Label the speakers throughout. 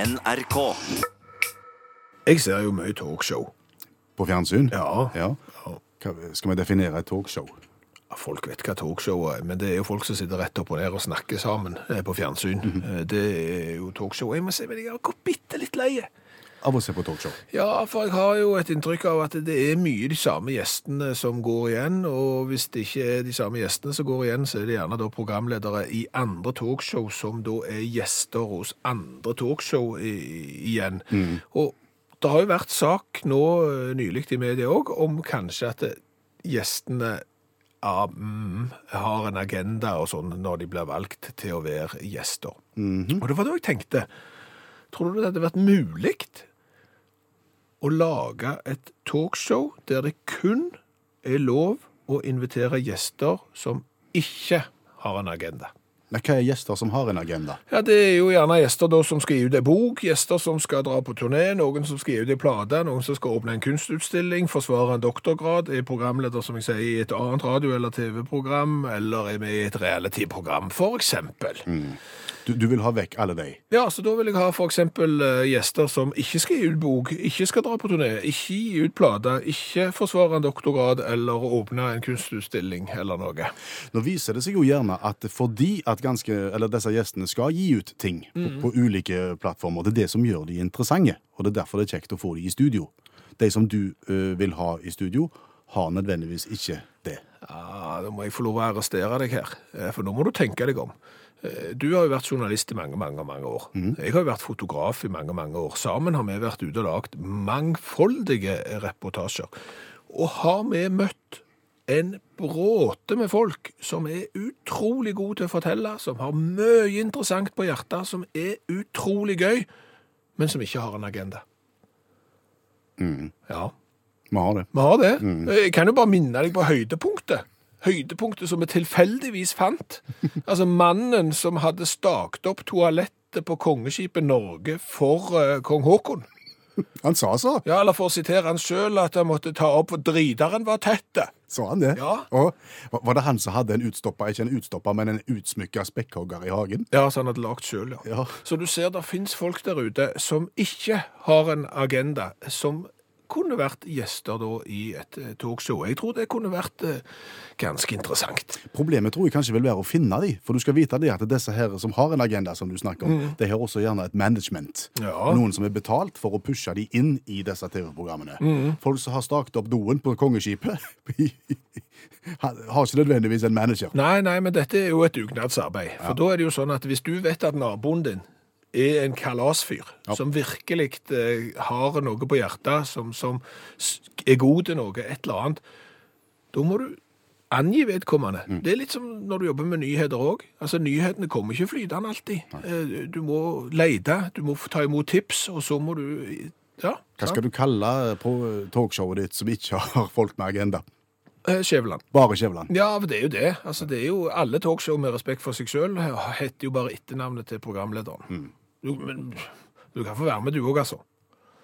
Speaker 1: NRK.
Speaker 2: Jeg ser jo mye talkshow.
Speaker 3: På fjernsyn?
Speaker 2: Ja.
Speaker 3: Hva, skal vi definere et talkshow?
Speaker 2: Folk vet hva talkshow er, men det er jo folk som sitter rett opp og ned og snakker sammen eh, på fjernsyn. Eh, Det er jo talkshow. Jeg må si, men jeg har gått bitte litt leie.
Speaker 3: Av å se på talkshow.
Speaker 2: Ja, for jeg har jo et inntrykk av at det er mye de samme gjestene som går igjen, og hvis det ikke er de samme gjestene som går igjen, så er det gjerne da programledere i andre talkshow som da er gjester hos andre talkshow i- igjen. Og det har jo vært sak nå eh, nylig i media òg om kanskje at eh, gjestene ja, mm, har en agenda og sånn når de blir valgt til å være gjester. Og det var da jeg tenkte Tror du det hadde vært mulig å lage et talkshow der det kun er lov å invitere gjester som ikke har en agenda.
Speaker 3: Men hva er gjester som har en agenda?
Speaker 2: Ja, Det er jo gjerne gjester da som skal gi ut ei bok, gjester som skal dra på turné, noen som skal gi ut ei plate, noen som skal åpne en kunstutstilling, forsvare en doktorgrad, er programleder som jeg sier, i et annet radio- eller TV-program, eller er med i et reality-program, for eksempel.
Speaker 3: Du, du vil ha vekk alle de.
Speaker 2: Ja, så da vil jeg ha for eksempel eh, gjester som ikke skal gi ut bok, ikke skal dra på turné, ikke gi ut plater, ikke forsvare en doktorgrad eller åpne en kunstutstilling eller noe.
Speaker 3: Nå viser det seg jo gjerne at fordi at ganske, eller disse gjestene skal gi ut ting på, på ulike plattformer, det er det som gjør de interessante, og det er derfor det er kjekt å få de i studio. De som du ø, vil ha i studio, har nødvendigvis ikke det.
Speaker 2: Ja, da må jeg få lov å arrestere deg her, eh, for nå må du tenke deg om. Eh, Du har jo vært journalist i mange, mange, mange år. Jeg har jo vært fotograf i mange, mange år. Sammen har vi vært ute og lagt mangfoldige reportasjer. Og har vi møtt en bråte med folk som er utrolig gode til å fortelle, som har mye interessant på hjertet, som er utrolig gøy, men som ikke har en agenda. Ja.
Speaker 3: Vi har det.
Speaker 2: Vi har det. Jeg kan jo bare minne deg på høydepunktet. Høydepunktet som vi tilfeldigvis fant. Altså mannen som hadde stakt opp toalettet på kongeskipet Norge for eh, kong Haakon.
Speaker 3: Han sa så.
Speaker 2: Ja, eller for å sitere han sjøl, at han måtte ta opp for driteren var tette.
Speaker 3: Sa han det?
Speaker 2: Ja.
Speaker 3: Og, var- var det han som hadde en utstoppa, ikke en utstoppa, men en utsmykka spekkhogger i hagen?
Speaker 2: Ja, så han hadde lagd sjøl, ja.
Speaker 3: Ja.
Speaker 2: Så du ser det fins folk der ute som ikke har en agenda, som kunne vært gjester da i et eh, talkshow. Jeg tror det kunne vært eh, ganske interessant.
Speaker 3: Problemet tror jeg kanskje vil være å finne de, for du skal vite det at disse her som har en agenda, som du snakker om, de har også gjerne et management.
Speaker 2: Mm. Ja.
Speaker 3: Noen som er betalt for å pushe de inn i disse TV-programmene.
Speaker 2: Mm.
Speaker 3: Folk som har stakt opp doen på kongeskipet, har har ikke nødvendigvis en manager.
Speaker 2: Nei, nei, men dette er jo et dugnadsarbeid. For da er det jo sånn at hvis du vet at naboen din er en kalasfyr, som virkelig eh, har noe på hjertet, som, som s- er god til noe, et eller annet, da må du angi vedkommende.
Speaker 3: Mm.
Speaker 2: Det er litt som når du jobber med nyheter òg. Altså, nyhetene kommer ikke flytende alltid. Eh, Du må lete, du må få ta imot tips, og så må du Ja.
Speaker 3: Hva skal du kalle eh, på talkshowet ditt som ikke har folk med agenda?
Speaker 2: Skjæveland.
Speaker 3: Bare Skjæveland.
Speaker 2: Ja, men det er jo det. Altså, det er jo Alle talkshow med respekt for seg sjøl heter jo bare etternavnet til programlederen. Du, men du kan få være med, du òg, altså.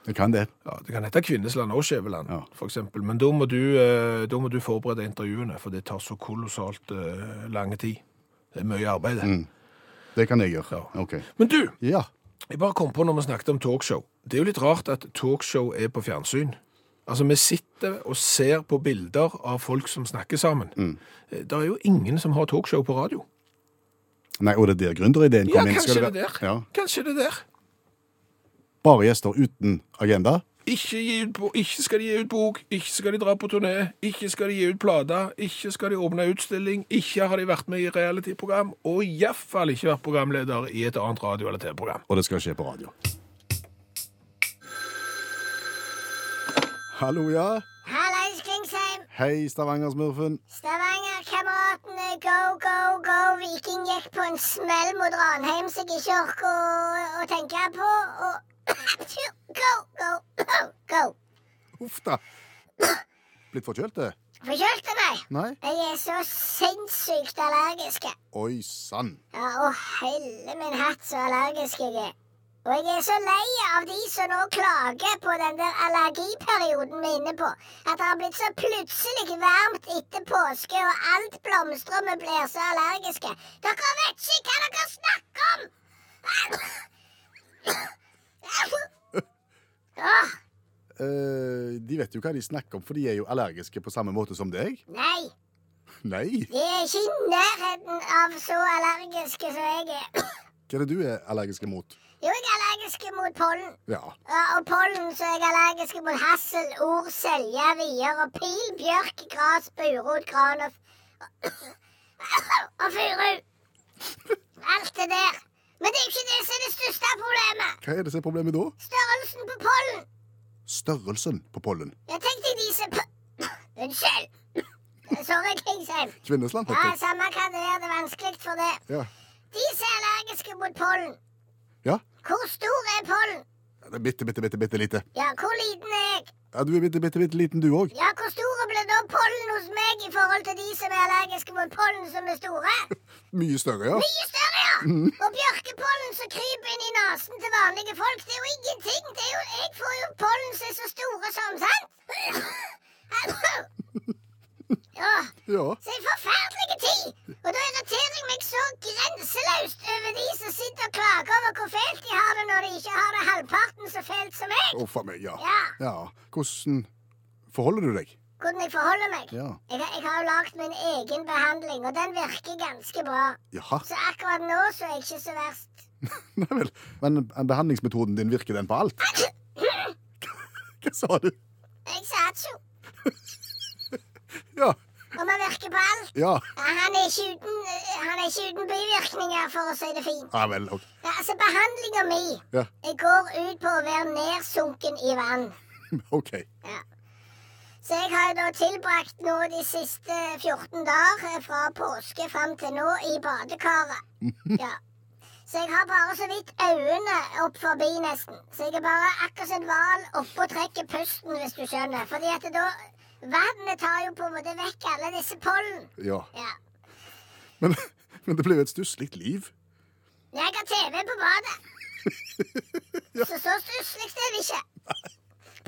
Speaker 3: Jeg kan det.
Speaker 2: Ja, det kan hete Kvinnesland og Skjæveland,
Speaker 3: Ja.
Speaker 2: for eksempel. Men da må, du, eh, da må du forberede intervjuene, for det tar så kolossalt eh, lang tid. Det er mye arbeid.
Speaker 3: Det kan jeg gjøre.
Speaker 2: Ja.
Speaker 3: Ok.
Speaker 2: Men du,
Speaker 3: Ja.
Speaker 2: jeg bare kom på når vi snakket om talkshow. Det er jo litt rart at talkshow er på fjernsyn. Altså, vi sitter og ser på bilder av folk som snakker sammen. Eh, Det er jo ingen som har talkshow på radio.
Speaker 3: Nei, og det er der gründerideen kom
Speaker 2: Ja,
Speaker 3: inn.
Speaker 2: kanskje
Speaker 3: Skal
Speaker 2: det,
Speaker 3: være-
Speaker 2: der.
Speaker 3: Ja.
Speaker 2: Kanskje det der.
Speaker 3: Bare gjester uten agenda.
Speaker 2: Ikke, gi ut, bo- ikke skal de gi ut bok, ikke skal de dra på turné, ikke skal de gi ut plater, ikke skal de åpne utstilling, ikke har de vært med i reality-program, og iallfall ikke vært programleder i et annet radio- eller TV-program.
Speaker 3: Og det skal skje på radio. Hallo, ja.
Speaker 4: Hallais, Klingsheim.
Speaker 3: Hei, Stavanger-smurfen.
Speaker 4: Stavanger-kameratene, go, go, go. Viking gikk på en smell mot Ranheim som jeg ikke orker å, å tenke på. Og go, go, go.
Speaker 3: Uff da. Blitt forkjølt, det?
Speaker 4: Forkjølte meg.
Speaker 3: Nei?
Speaker 4: Jeg er så sinnssykt allergisk.
Speaker 3: Oi sann.
Speaker 4: Ja, og helle min hatt så allergisk jeg er. Og jeg er så lei av de som nå klager på den der allergiperioden vi er inne på. At det har blitt så plutselig varmt etter påske, og alt blomstrer og vi blir så allergiske. Dere vet ikke hva dere snakker om!
Speaker 3: eh, de vet jo hva de snakker om, for de er jo allergiske på samme måte som deg.
Speaker 4: Nei,
Speaker 3: Nei.
Speaker 4: de er ikke i nærheten av så allergiske som jeg er.
Speaker 3: Hva er det du er allergisk mot?
Speaker 4: Jo, jeg er allergisk mot pollen.
Speaker 3: Ja.
Speaker 4: Ja, Og pollen, så er jeg allergisk mot hassel, ord, selje, vier og pil, bjørk, gras, burot, gran og, og furu. Alt det der. Men det er jo ikke det som er det største problemet.
Speaker 3: Hva er det som er problemet da?
Speaker 4: Størrelsen på pollen.
Speaker 3: Størrelsen på pollen.
Speaker 4: Jeg tenkte de som p- Unnskyld. Sorry, Kingsheim.
Speaker 3: Kvinnesland,
Speaker 4: Ja,
Speaker 3: heter det.
Speaker 4: Samme hva det er, det er vanskelig for det.
Speaker 3: Ja.
Speaker 4: De som er allergiske mot pollen.
Speaker 3: ja.
Speaker 4: Hvor stor er pollen?
Speaker 3: Det er bitte, bitte, bitte, bitte lite.
Speaker 4: Ja, hvor liten er jeg?
Speaker 3: Ja, du er bitte, bitte, bitte liten, du òg.
Speaker 4: Ja, hvor store ble da pollen hos meg i forhold til de som er allergiske mot pollen som er store?
Speaker 3: Mye større, ja.
Speaker 4: Mye større, ja! Og bjørkepollen som kryper inn i nesen til vanlige folk, det er jo ingenting. Det er jo, jeg får jo pollen som er så store som, sant? Hallo! Ja,
Speaker 3: Ja.
Speaker 4: så en forferdelig tid! Og da irriterer jeg meg så grenseløst over de som sitter og klager over hvor fælt de har det når de ikke har det halvparten så fælt som meg.
Speaker 3: Uff a meg, ja.
Speaker 4: Ja.
Speaker 3: ja. Hvordan forholder du deg?
Speaker 4: Hvordan jeg forholder meg.
Speaker 3: Ja.
Speaker 4: Jeg, har- jeg har jo lagd min egen behandling, og den virker ganske bra.
Speaker 3: Jaha.
Speaker 4: Så akkurat nå så er jeg ikke så verst.
Speaker 3: Nei vel. Men behandlingsmetoden din, virker den på alt? Hva sa du?
Speaker 4: Jeg sa atjo.
Speaker 3: Ja.
Speaker 4: Og man virker på alt.
Speaker 3: Ja.
Speaker 4: Ja, Han er ikke uten, eh, han er ikke uten bivirkninger, for å si det fint.
Speaker 3: Ja vel. ok.
Speaker 4: Ja, altså, behandlinga mi
Speaker 3: Ja.
Speaker 4: eh, går ut på å være nedsunken i vann.
Speaker 3: OK.
Speaker 4: Ja. Så jeg har jo da tilbrakt nå de siste 14 dager eh, fra påske fram til nå i badekaret. Ja. Så jeg har bare så vidt øynene opp forbi nesten. Så jeg er bare akkurat som en hval oppe og trekker pusten, hvis du skjønner. Fordi at da Vannet tar jo på en måte vekk alle disse pollen.
Speaker 3: Ja.
Speaker 4: Ja.
Speaker 3: Men, men det blir jo et stusslig liv.
Speaker 4: Jeg har TV på badet. Så så stusslig er det ikke.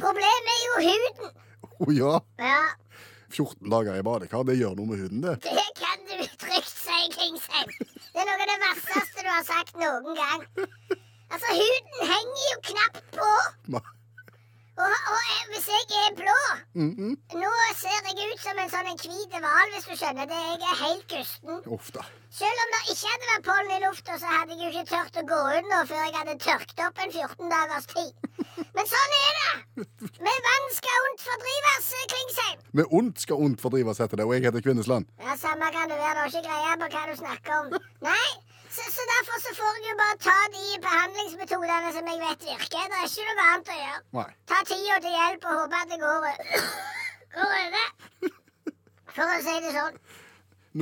Speaker 4: Problemet er jo huden.
Speaker 3: Å ja.
Speaker 4: Ja.
Speaker 3: 14 dager i badekar, det gjør noe med huden, det.
Speaker 4: Det kan du trygt si, Kingsheim. Det er noe av det verste du har sagt noen gang. Altså, huden henger jo knapt på.
Speaker 3: Nei.
Speaker 4: Og, og eh, hvis jeg er blå
Speaker 3: Mhm.
Speaker 4: Nå ser jeg ut som en sånn en hvit hval, hvis du skjønner det. Jeg er helt gusten.
Speaker 3: Uff da.
Speaker 4: Selv om det ikke hadde vært pollen i lufta, så hadde jeg jo ikke tørt å gå ut nå før jeg hadde tørket opp en 14 dagers tid. Men sånn er det. Med vann skal ondt fordrives, eh, Klingsheim.
Speaker 3: Med ondt skal ondt fordrives, heter det, og jeg heter Kvinnesland.
Speaker 4: Ja, Samme kan det være, det er ikke greie på hva du snakker om. Nei, så, så derfor så får jeg jo bare ta de behandlingsmetodene som jeg vet virker. Det er ikke noe annet å gjøre.
Speaker 3: Nei.
Speaker 4: Ta tida til hjelp og håpe at det går o- går over. For å si det sånn.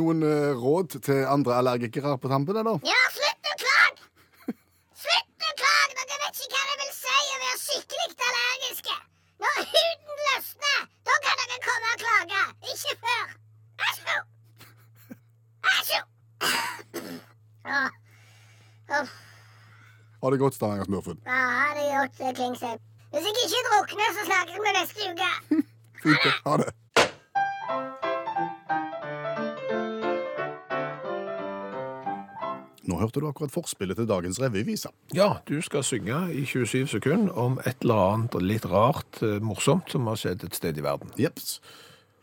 Speaker 3: Noen eh, råd til andre allergikere på tampen, eller?
Speaker 4: Ja, slutt å klage! Slutt å klage! Dere vet ikke hva det vil si å være skikkelig allergiske. Når huden løsner, da kan dere komme og klage. Ikke før. Æsjo! Æsjo! Åh. Uff.
Speaker 3: Ha det godt, Stavanger Smurfund.
Speaker 4: Ja, det er gjort, det, Klingsheim. Hvis jeg ikke drukner, så snakkes vi neste uke.
Speaker 3: Fint, det. Ha det. Nå hørte du akkurat forspillet til dagens revyvise.
Speaker 2: Ja, du skal synge i 27 sekunder om et eller annet litt rart, eh, morsomt, som har skjedd et sted i verden.
Speaker 3: Jepps.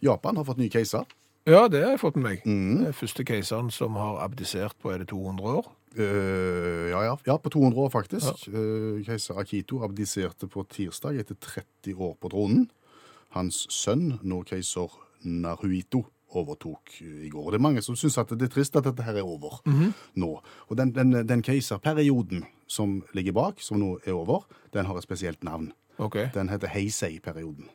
Speaker 3: Japan har fått ny keiser.
Speaker 2: Ja, det har jeg fått med meg.
Speaker 3: Mhm.
Speaker 2: Det er første keiseren som har abdisert på er det 200 år.
Speaker 3: Eh, ja, ja. ja, på 200 år, faktisk. Eh, keiser Akito abdiserte på tirsdag etter 30 år på tronen. Hans sønn, nå keiser Naruhito, overtok eh, i går. Og det er mange som syns at det er trist at dette her er over nå. Og den, den, den keiserperioden som ligger bak, som nå er over, den har et spesielt navn.
Speaker 2: Ok.
Speaker 3: Den heter Heisei-perioden.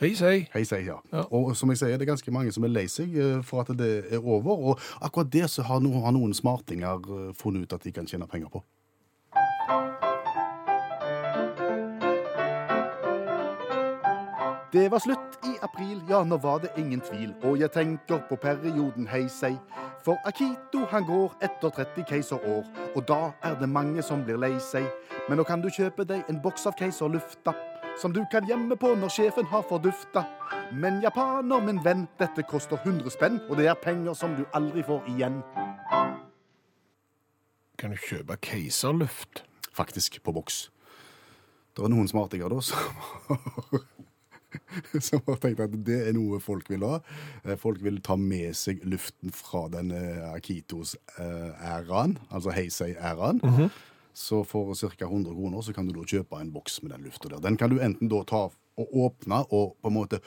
Speaker 2: Hei, hei.
Speaker 3: Hei, sier ja.
Speaker 2: Ja.
Speaker 3: Og som jeg sier, det er ganske mange som er lei seg eh, for at det er over. Og akkurat det så har, no, har noen smartinger eh, funnet ut at de kan tjene penger på. Det var slutt i april, ja, nå var det ingen tvil. Og jeg tenker på perioden heisei. For Akito, han går etter 30 keiserår. Og da er det mange som blir lei seg. Men nå kan du kjøpe deg en boks av keiserlufta. Som du kan gjemme på når sjefen har fordufta. Men japaner, min venn, dette koster 100 spenn. Og det er penger som du aldri får igjen.
Speaker 2: Kan du kjøpe keiserluft?
Speaker 3: Faktisk, på boks. Det var noen smartinger da som har, som har tenkt at det er noe folk vil ha. Eh, Folk vil ta med seg luften fra denne Akitos-æraen, altså Heisei-æraen. Så for ca. 100 kroner så kan du da kjøpe en boks med den lufta der. Den kan du enten da ta og åpne og på en måte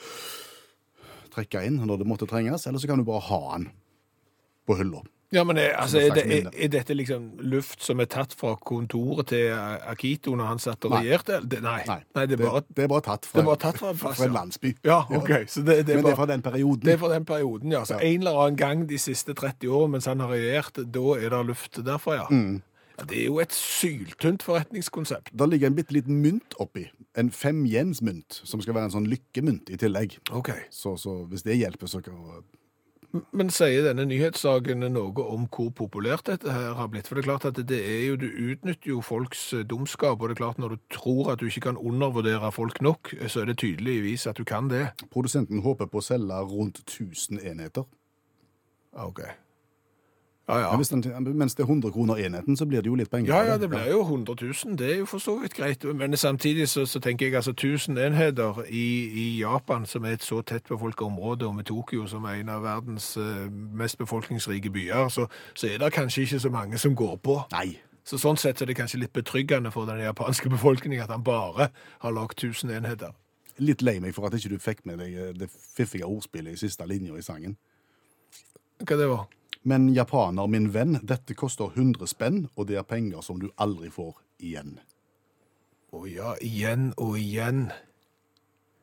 Speaker 3: trekke inn når det måtte trenges, eller så kan du bare ha den på hylla.
Speaker 2: Ja, men er, altså, er,
Speaker 3: Som et
Speaker 2: det,
Speaker 3: slags
Speaker 2: er,
Speaker 3: minne.
Speaker 2: er dette liksom luft som er tatt fra kontoret til eh, Akito når han satt og
Speaker 3: Nei.
Speaker 2: regjerte? eller? Det- Nei. Nei. Nei, det er bare
Speaker 3: det er bare tatt fra,
Speaker 2: det er bare tatt fra en plass,
Speaker 3: en
Speaker 2: ja.
Speaker 3: landsby.
Speaker 2: Ja, OK. Så det, det, er
Speaker 3: Men det er
Speaker 2: bare,
Speaker 3: fra den perioden.
Speaker 2: det er fra den perioden, ja. Så
Speaker 3: Ja.
Speaker 2: en eller annen gang de siste 30 årene mens han har regjert, da er det luft derfra, ja.
Speaker 3: Mm.
Speaker 2: ja. Det er jo et syltynt forretningskonsept.
Speaker 3: Da ligger en bitte liten mynt oppi. En fem jens mynt, som skal være en sånn lykkemynt i tillegg.
Speaker 2: OK.
Speaker 3: Så, så hvis det hjelper, så kan
Speaker 2: Men sier denne nyhetssaken noe om hvor populært dette her har blitt? For det er klart at det er jo, du utnytter jo folks eh, dumskap, og det er klart når du tror at du ikke kan undervurdere folk nok, eh, så er det tydeligvis at du kan det.
Speaker 3: Produsenten håper på å selge rundt 1000 enheter.
Speaker 2: Ah, Ok. Ja,
Speaker 3: Men
Speaker 2: ja.
Speaker 3: hvis den, mens det er 100 kroner enheten, så blir det jo litt penger.
Speaker 2: Ja,
Speaker 3: av
Speaker 2: ja, det blir jo 100 000, det er jo for så vidt greit. Men samtidig så, så tenker jeg altså 1000 enheter i, i Japan, som er et så tett befolket område, og med Tokyo som er en av verdens eh, mest befolkningsrike byer, så, så er det kanskje ikke så mange som går på.
Speaker 3: Nei.
Speaker 2: Så sånn sett så er det kanskje litt betryggende for den japanske befolkningen at han bare har lagt 1000 enheter.
Speaker 3: Litt lei meg for at ikke du fikk med deg eh, det fiffige ordspillet i siste linja i sangen.
Speaker 2: Hva det var?
Speaker 3: Men japaner, min venn, dette koster 100 spenn, og det er penger som du aldri får igjen.
Speaker 2: Å ja, igjen og igjen.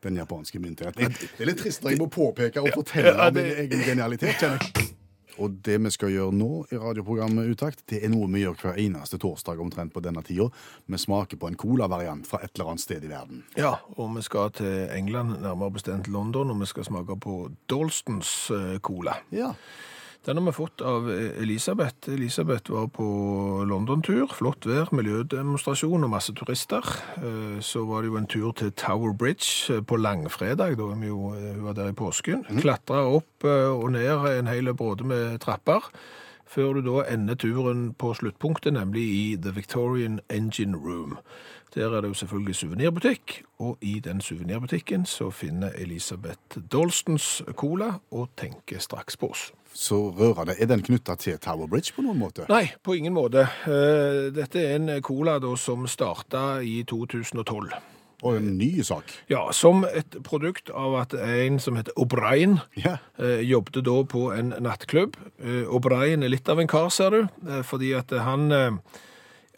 Speaker 3: Den japanske myndigheten. Det er litt trist når jeg må påpeke og fortelle
Speaker 2: ja,
Speaker 3: om
Speaker 2: det-
Speaker 3: min egen genialitet, kjenner jeg. Og det vi skal gjøre nå i radioprogrammet Utakt, det er noe vi gjør hver eneste torsdag omtrent på denne tida. Vi smaker på en colavariant fra et eller annet sted i verden.
Speaker 2: Ja, og vi skal til England, nærmere bestemt London, og vi skal smake på Dalstons eh, cola.
Speaker 3: Ja.
Speaker 2: Den har vi fått av eh, Elisabeth. Elisabeth var på London-tur. Flott vær, miljødemonstrasjon og masse turister. Eh, Så var det jo en tur til Tower Bridge eh, på langfredag, da vi jo, eh, hun var der i påsken. Klatra opp eh, og ned en hel bråde med trapper. Før du da ender turen på sluttpunktet, nemlig i The Victorian Engine Room. Der er det jo selvfølgelig suvenirbutikk, og i den suvenirbutikken så finner Elisabeth Dolstons cola og tenker straks på oss.
Speaker 3: Så rører det. Er den knytta til Tower Bridge på noen måte?
Speaker 2: Nei, på ingen måte. Eh, Dette er en cola da, som starta i 2012.
Speaker 3: Og en ny sak.
Speaker 2: Ja, Som et produkt av at en som heter O'Brien,
Speaker 3: Ja.
Speaker 2: eh, jobbet da på en nattklubb. Eh, O'Brien er litt av en kar, ser du, eh, fordi at han eh,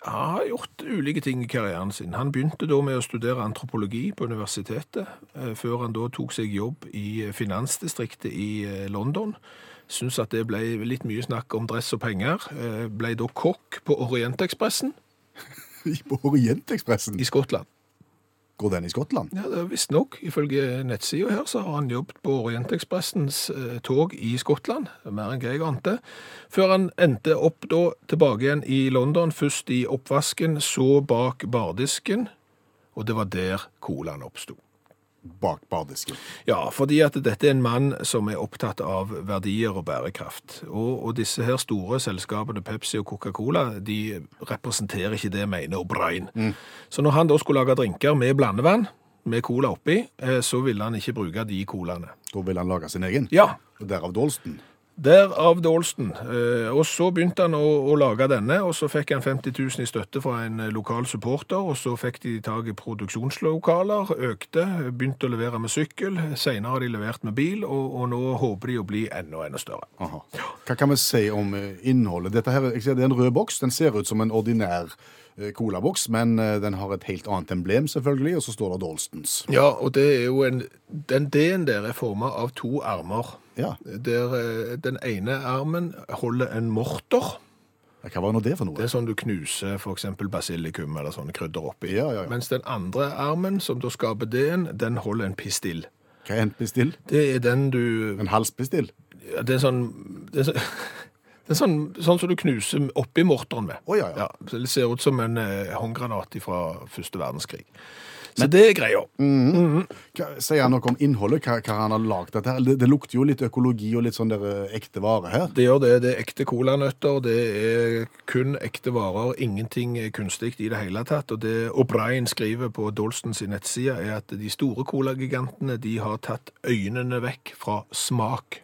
Speaker 2: har gjort ulike ting i karrieren sin. Han begynte da med å studere antropologi på universitetet, eh, før han da tok seg jobb i finansdistriktet i eh, London. Syns at det ble litt mye snakk om dress og penger. Eh, Ble da kokk på Orientekspressen
Speaker 3: På Orientekspressen.
Speaker 2: i Skottland.
Speaker 3: Går den i Skottland?
Speaker 2: Ja, det er Visstnok, ifølge nettsida her, så har han jobbet på Orientekspressens eh, tog i Skottland. Mer enn hva jeg ante. Før han endte opp da tilbake igjen i London, først i oppvasken, så bak bardisken. Og det var der colaen oppsto.
Speaker 3: Bak bardisken.
Speaker 2: Ja, fordi at dette er en mann som er opptatt av verdier og bærekraft. Og, og disse her store selskapene, Pepsi og Coca-Cola, de representerer ikke det, mener O'Brien. Så når han da skulle lage drinker med blandevann, med cola oppi, eh, så ville han ikke bruke de colaene.
Speaker 3: Da vil han lage sin egen.
Speaker 2: Ja,
Speaker 3: Og Derav Dolsten.
Speaker 2: Derav Dolsten. Eh, Og så begynte han å, å lage denne, og så fikk han 50 000 i støtte fra en eh, lokal supporter, og så fikk de tak i produksjonslokaler, økte, begynte å levere med sykkel, senere har de levert med bil, og, og nå håper de å bli enda, enda større.
Speaker 3: Aha. Hva kan vi si om eh, innholdet? Dette her, jeg ser Det er en rød boks. Den ser ut som en ordinær eh, colaboks, men eh, den har et helt annet emblem, selvfølgelig, og så står det Dolstons.
Speaker 2: Ja, og det er jo en, den D-en der er formet av to armer,
Speaker 3: Ja,
Speaker 2: der eh, den ene armen holder en morter,
Speaker 3: Hva var nå det for
Speaker 2: Det
Speaker 3: noe?
Speaker 2: er sånn du knuser for eksempel basilikum eller sånne krydder oppi.
Speaker 3: Ja, ja, ja.
Speaker 2: Mens den andre armen, som da skaper D-en, den holder en pistill.
Speaker 3: Hva er en pistill?
Speaker 2: Det er den du
Speaker 3: En halspistill?
Speaker 2: ja, Det er sånn det er, så- Det er sånn, sånn som du knuser oppi morteren med.
Speaker 3: Å, ja, ja.
Speaker 2: så det ser ut som en eh, håndgranat fra første verdenskrig. Så det er greia.
Speaker 3: Hva- Sier han noe om innholdet? Hva, hva han har lagd dette her? Det, det lukter jo litt økologi og litt sånn der eh, ekte vare her.
Speaker 2: Det gjør det. Det er ekte colanøtter, det er kun ekte varer, ingenting er kunstig i det hele tatt. Og det O'Brien skriver på Dolston sin nettside, er at de store colagigantene de har tatt øynene vekk fra smak.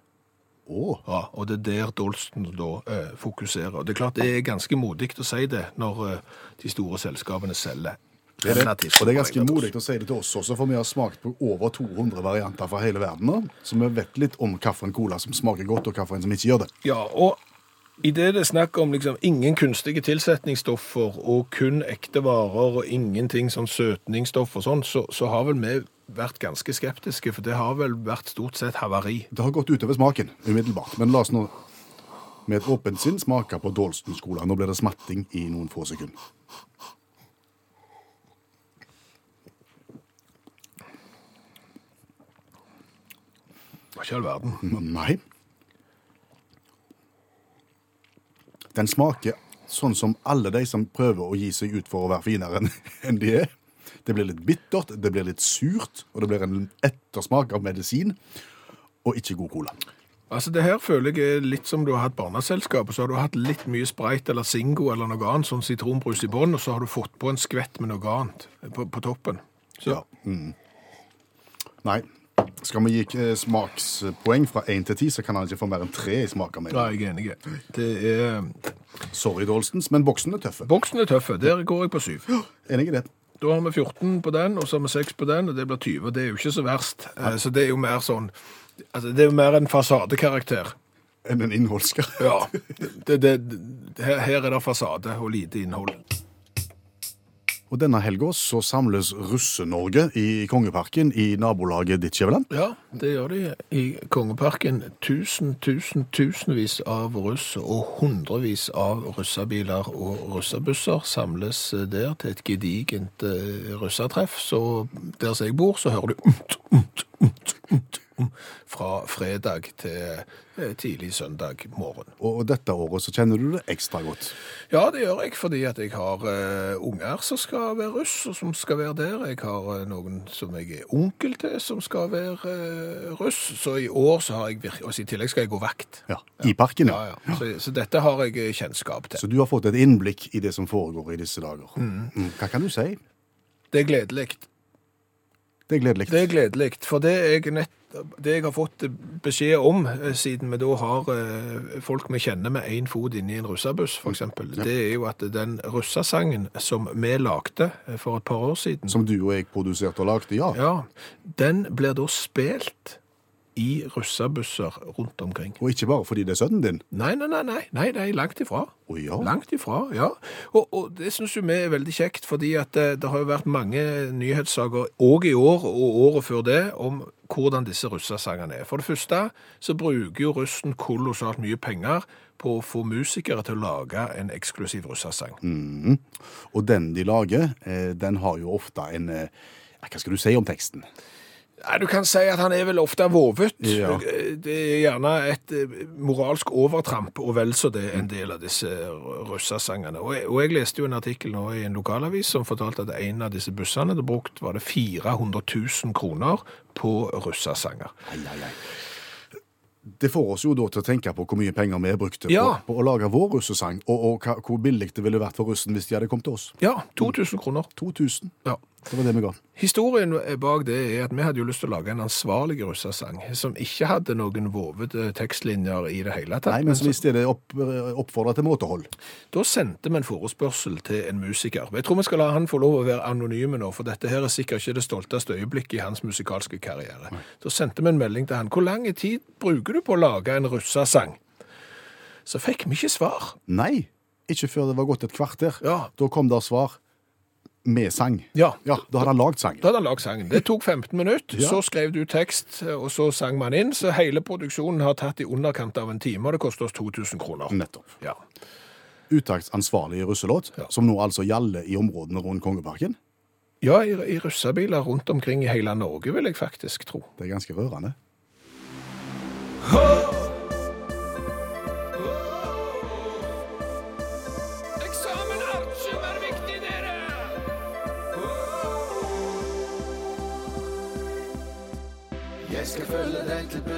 Speaker 3: Å,
Speaker 2: Ja, og det er der Dolston da eh, fokuserer. Og Det er klart det er ganske modig å si det når eh, de store selskapene selger.
Speaker 3: det er det.
Speaker 2: relativt
Speaker 3: Og det er ganske
Speaker 2: bra,
Speaker 3: modig å si det til oss også, for vi har smakt på over 200 varianter fra hele verden nå. Så vi vet litt om hvilken cola som smaker godt, og hvilken som ikke gjør det.
Speaker 2: Ja, og i det det er snakk om liksom ingen kunstige tilsetningsstoffer og kun ekte varer og ingenting sånn søtningsstoff og sånn, så, så har vel vi vært ganske skeptiske, for det har vel vært stort sett havari.
Speaker 3: Det har gått utover smaken umiddelbart, men la oss nå med et åpent sinn smake på Dolston skole. Nå blir det smatting i noen få sekunder.
Speaker 2: Det var ikke all verden.
Speaker 3: Men Mm, Nei. Den smaker sånn som alle de som prøver å gi seg ut for å være finere enn- enn de er. Det blir litt bittert, det blir litt surt, og det blir en ettersmak av medisin. Og ikke god cola.
Speaker 2: Altså, det her føler jeg er litt som du har hatt barneselskap, og så har du hatt litt mye spreit eller Singo eller noe annet, sånn sitronbrus i bånn, og så har du fått på en skvett med noe annet eh, på, på toppen. Så,
Speaker 3: mm. Nei. Skal vi gi eh, smakspoeng fra én til ti, så kan han ikke få mer enn tre i smak av meg.
Speaker 2: ja, jeg er enig. Det er...
Speaker 3: Sorry, Dolstons, men boksen er tøff.
Speaker 2: Boksen er tøffe, der går jeg på syv.
Speaker 3: Enig i det.
Speaker 2: Da har vi 14 på den, og så har vi 6 på den, og det blir 20. Det er jo ikke så verst. Eh, Så det er jo mer sånn Altså, det er jo mer en fasadekarakter.
Speaker 3: Enn en innholdsker.
Speaker 2: Ja. Det, det, her, her er det fasade og lite innhold.
Speaker 3: Og denne helga så samles Russe-Norge i Kongeparken i nabolaget ditt, Skjæveland.
Speaker 2: Ja, det gjør de i Kongeparken. Tusen, tusen, tusenvis av russ og hundrevis av russebiler og russebusser samles eh, der til et gedigent eh, russetreff. Så der som jeg bor, så hører du umt, umt, umt, umt, umt, fra fredag til eh, tidlig søndag morgen.
Speaker 3: Og dette året så kjenner du det ekstra godt.
Speaker 2: Ja, det gjør jeg, fordi at jeg har eh, unger som skal være russ, og som skal være der. Jeg har eh, noen som jeg er onkel til, som skal være eh, russ. Så i år så har jeg virkelig Og så i tillegg skal jeg gå vakt.
Speaker 3: Ja, I parken,
Speaker 2: Ja, ja. Så, så dette har jeg eh, kjennskap til.
Speaker 3: Så du har fått et innblikk i det som foregår i disse dager. Mm. Hva kan du si?
Speaker 2: Det er gledelig.
Speaker 3: Det er gledelig.
Speaker 2: Det er gledelig, for det jeg, nett, det jeg har fått eh, beskjed om, eh, siden vi da har eh, folk vi kjenner med én fot inni en russebuss, f.eks., eksempel, det er jo at den russesangen som vi lagde eh, for et par år siden
Speaker 3: Som du og jeg produserte og lagde, ja.
Speaker 2: Ja, den blir da spilt i russebusser rundt omkring.
Speaker 3: Og ikke bare fordi det er sønnen din.
Speaker 2: Nei, nei, nei, nei, nei, nei langt ifra.
Speaker 3: Å ja.
Speaker 2: Langt ifra, ja. Og, og det syns jo vi er veldig kjekt, fordi at eh, det, det har jo vært mange nyhetssaker òg i år og året før det om hvordan disse russesangene er. For det første så bruker jo russen kolossalt mye penger på å få musikere til å lage en eksklusiv russesang.
Speaker 3: Og den de lager, eh, den har jo ofte en eh, Hva skal du si om teksten?
Speaker 2: Nei, Du kan si at han er vel ofte vovet.
Speaker 3: Ja.
Speaker 2: Det er gjerne et eh, moralsk overtramp og vel så det en del av disse russesangene. Og jeg, og jeg leste jo en artikkel nå i en lokalavis som fortalte at en av disse bussene hadde brukt var det 400 000 kroner på russesanger.
Speaker 3: Ai, ai, ai. Det får oss jo da til å tenke på hvor mye penger vi brukte
Speaker 2: Ja.
Speaker 3: på, på å lage vår russesang, og, og hva, hvor billig det ville vært for russen hvis de hadde kommet til oss.
Speaker 2: Ja, 2000 kroner.
Speaker 3: 2000.
Speaker 2: Ja.
Speaker 3: Det var det vi ga.
Speaker 2: Historien bak det er at vi hadde jo lyst til å lage en ansvarlig russesang som ikke hadde noen vovete tekstlinjer i det hele tatt.
Speaker 3: Nei, men som i stedet opp, oppfordra til måtehold.
Speaker 2: Da sendte vi en forespørsel til en musiker. Jeg tror vi skal la han få lov å være anonyme nå, for dette her er sikkert ikke det stolteste øyeblikket i hans musikalske karriere. Da sendte vi en melding til han. Hvor lang tid bruker du på å lage en russesang? Så fikk vi ikke svar.
Speaker 3: Nei, ikke før det var gått et kvarter.
Speaker 2: Ja.
Speaker 3: Da kom der svar med sang.
Speaker 2: Ja.
Speaker 3: Ja, Da hadde han lagd sang.
Speaker 2: Da hadde han lagd sangen. Det tok 15 minutter,
Speaker 3: Ja.
Speaker 2: så skrev du tekst, og så sang man inn. Så hele produksjonen har tatt i underkant av en time, og det koster oss 2000 kroner.
Speaker 3: Nettopp.
Speaker 2: Ja.
Speaker 3: Uttaktsansvarlig russelåt,
Speaker 2: Ja.
Speaker 3: som nå altså gjelder i områdene rundt Kongeparken.
Speaker 2: Ja, i, i russebiler rundt omkring i hele Norge, vil jeg faktisk tro.
Speaker 3: Det er ganske rørende.
Speaker 2: Jeg skal følge deg til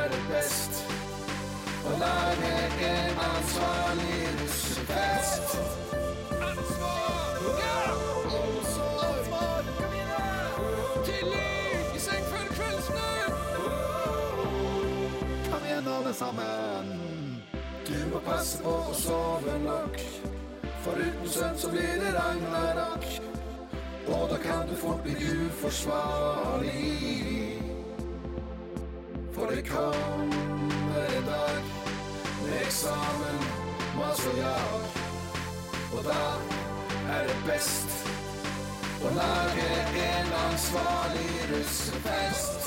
Speaker 2: er det best å lage en ansvarlig russefest. Ansvar! Ja! Ansvar! Ansvar! Kom igjen, da! Tidlig! I seng før kveldsnytt! Kom igjen, alle sammen. Du må passe på å sove nok. For uten søvn så blir det ragnarok. Og da kan du fort bli uforsvarlig. For det kommer en dag med eksamen, masse jag. Og da er det best å lage en ansvarlig russefest.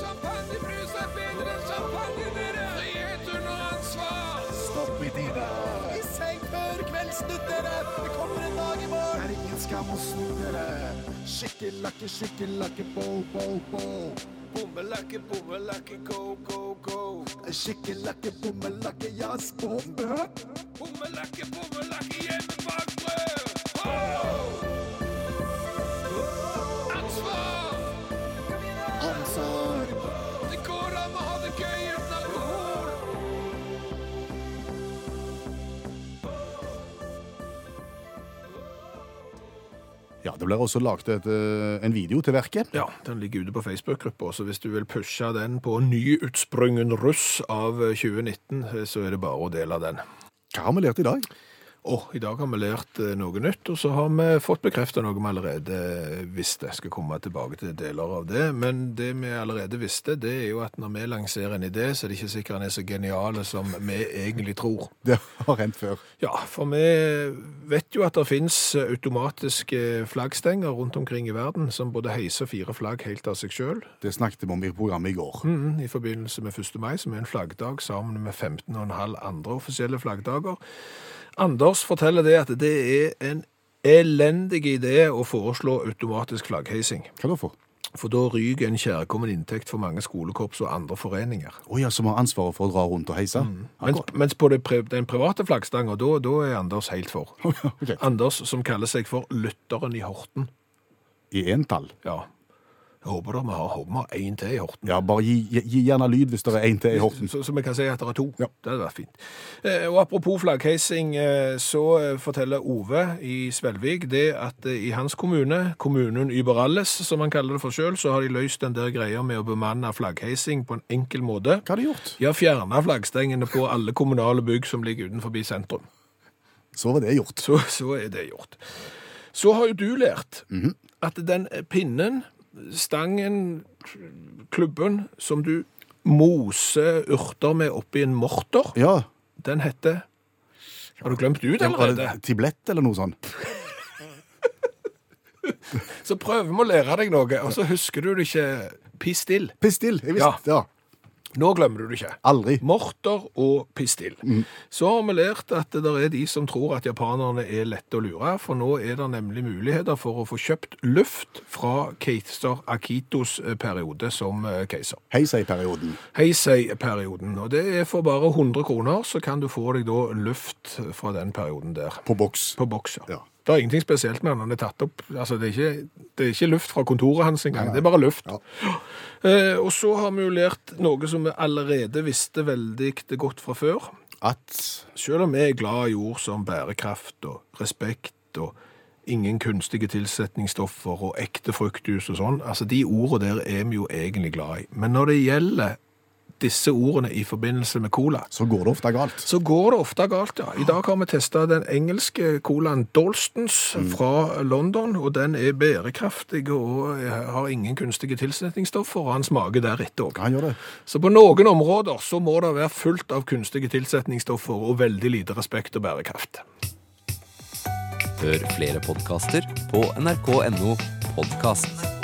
Speaker 2: Champagnebrus er bedre enn champagne, dere! Frihet under ansvar! Stopp i tida! I seng før kveldsnytt, dere! Det kommer en dag i morgen! Det er ingen skam å snu, dere. Skikkelakke, skikkelakke, bo, bo, bo. Bommelakke, bommelakke, go, go, go. Skikkelakke, bommelakke, jazz, bombe. Bommelakke, bommelakke, hjemme bak brød! Ansvar! Omsorg! Det går an å ha det gøy uten alkohol!
Speaker 3: Ja, Det blir også laget et, eh, en video til verket.
Speaker 2: Ja, den ligger ute på Facebook-gruppa, så hvis du vil pushe den på nyutsprungen russ av 2019, så er det bare å dele den.
Speaker 3: Hva har vi lært i dag?
Speaker 2: Og i dag har vi lært eh, noe nytt, og så har vi fått bekreftet noe vi allerede eh, visste. Jeg skal komme tilbake til deler av det, men det vi allerede visste, det er jo at når vi lanserer en idé, så er det ikke sikkert den er så geniale som vi egentlig tror.
Speaker 3: Det har hendt før.
Speaker 2: Ja, for vi vet jo at det finnes eh, automatiske eh, flaggstenger rundt omkring i verden, som både heiser fire flagg helt av seg selv,
Speaker 3: Det snakket vi om i programmet i går.
Speaker 2: Mhm, i forbindelse med 1. mai, som er en flaggdag, sammen med 15,5 andre offisielle flaggdager. Anders forteller det at det er en elendig idé å foreslå automatisk flaggheising,
Speaker 3: Hva da for?
Speaker 2: for da ryker en kjærkommen inntekt for mange skolekorps og andre foreninger.
Speaker 3: Å ja, som har ansvaret for å dra rundt og heise?
Speaker 2: Mens, mens på det, pri- den private flaggstangen, da, da er Anders helt for.
Speaker 3: Ok.
Speaker 2: Anders, som kaller seg for Lytteren i Horten.
Speaker 3: I entall.
Speaker 2: Ja. Jeg håper da vi har, håper vi har én til i Horten.
Speaker 3: Ja, bare gi, gi- gi gjerne lyd hvis det er én til i Horten.
Speaker 2: Så, så vi kan si at det er to.
Speaker 3: Ja.
Speaker 2: Det hadde vært fint. Eh, og Apropos flaggheising, eh, så eh, forteller Ove i Svelvik det at eh, i hans kommune, kommunen Überalles, som han kaller det for sjøl, så har de løst den der greia med å bemanne flaggheising på en enkel måte.
Speaker 3: Hva har de gjort?
Speaker 2: De har fjerna flaggstengene på alle kommunale bygg som ligger utenfor sentrum.
Speaker 3: Så var det gjort.
Speaker 2: Så, så er det gjort. Så har jo du lært at den pinnen, stangen, klubben som du moser urter med oppi en morter,
Speaker 3: Ja.
Speaker 2: den heter Har du glemt ut
Speaker 3: Var
Speaker 2: allerede?
Speaker 3: det Tiblett eller noe sånt?
Speaker 2: Så prøver vi å lære deg noe, og så husker du det ikke. Pistill.
Speaker 3: Pistill! Jeg visste ja.
Speaker 2: Nå glemmer du det ikke.
Speaker 3: Aldri.
Speaker 2: Morter og pistill. Så har vi lært at det der er de som tror at japanerne er lette å lure, for nå er det nemlig muligheter for å få kjøpt luft fra keiser Akitos eh, periode som eh, keiser.
Speaker 3: Heisei-perioden.
Speaker 2: Heisei-perioden, og det er for bare 100 kroner, så kan du få deg da luft fra den perioden der.
Speaker 3: På boks.
Speaker 2: På boks,
Speaker 3: Ja.
Speaker 2: Det er ingenting spesielt med han, han er tatt opp. Altså, det, er ikke, det er ikke luft fra kontoret hans engang, det er bare luft.
Speaker 3: Ja.
Speaker 2: Eh, og så har vi jo lært noe som vi allerede visste veldig godt fra før.
Speaker 3: At
Speaker 2: Selv om vi er glad i ord som bærekraft og respekt og ingen kunstige tilsetningsstoffer og ekte fruktjus og sånn, altså de ordene der er vi jo egentlig glad i. Men når det gjelder disse ordene i forbindelse med cola,
Speaker 3: så går det ofte galt.
Speaker 2: så går det ofte galt, ja. I dag har vi testet den engelske colaen Dolstons fra London, og den er bærekraftig og eh, har ingen kunstige tilsetningsstoffer, og han smaker deretter også.
Speaker 3: Han gjør det.
Speaker 2: Så på noen områder så må det være fullt av kunstige tilsetningsstoffer og veldig lite respekt og bærekraft.
Speaker 1: Hør flere podkaster på nrk.no podkast.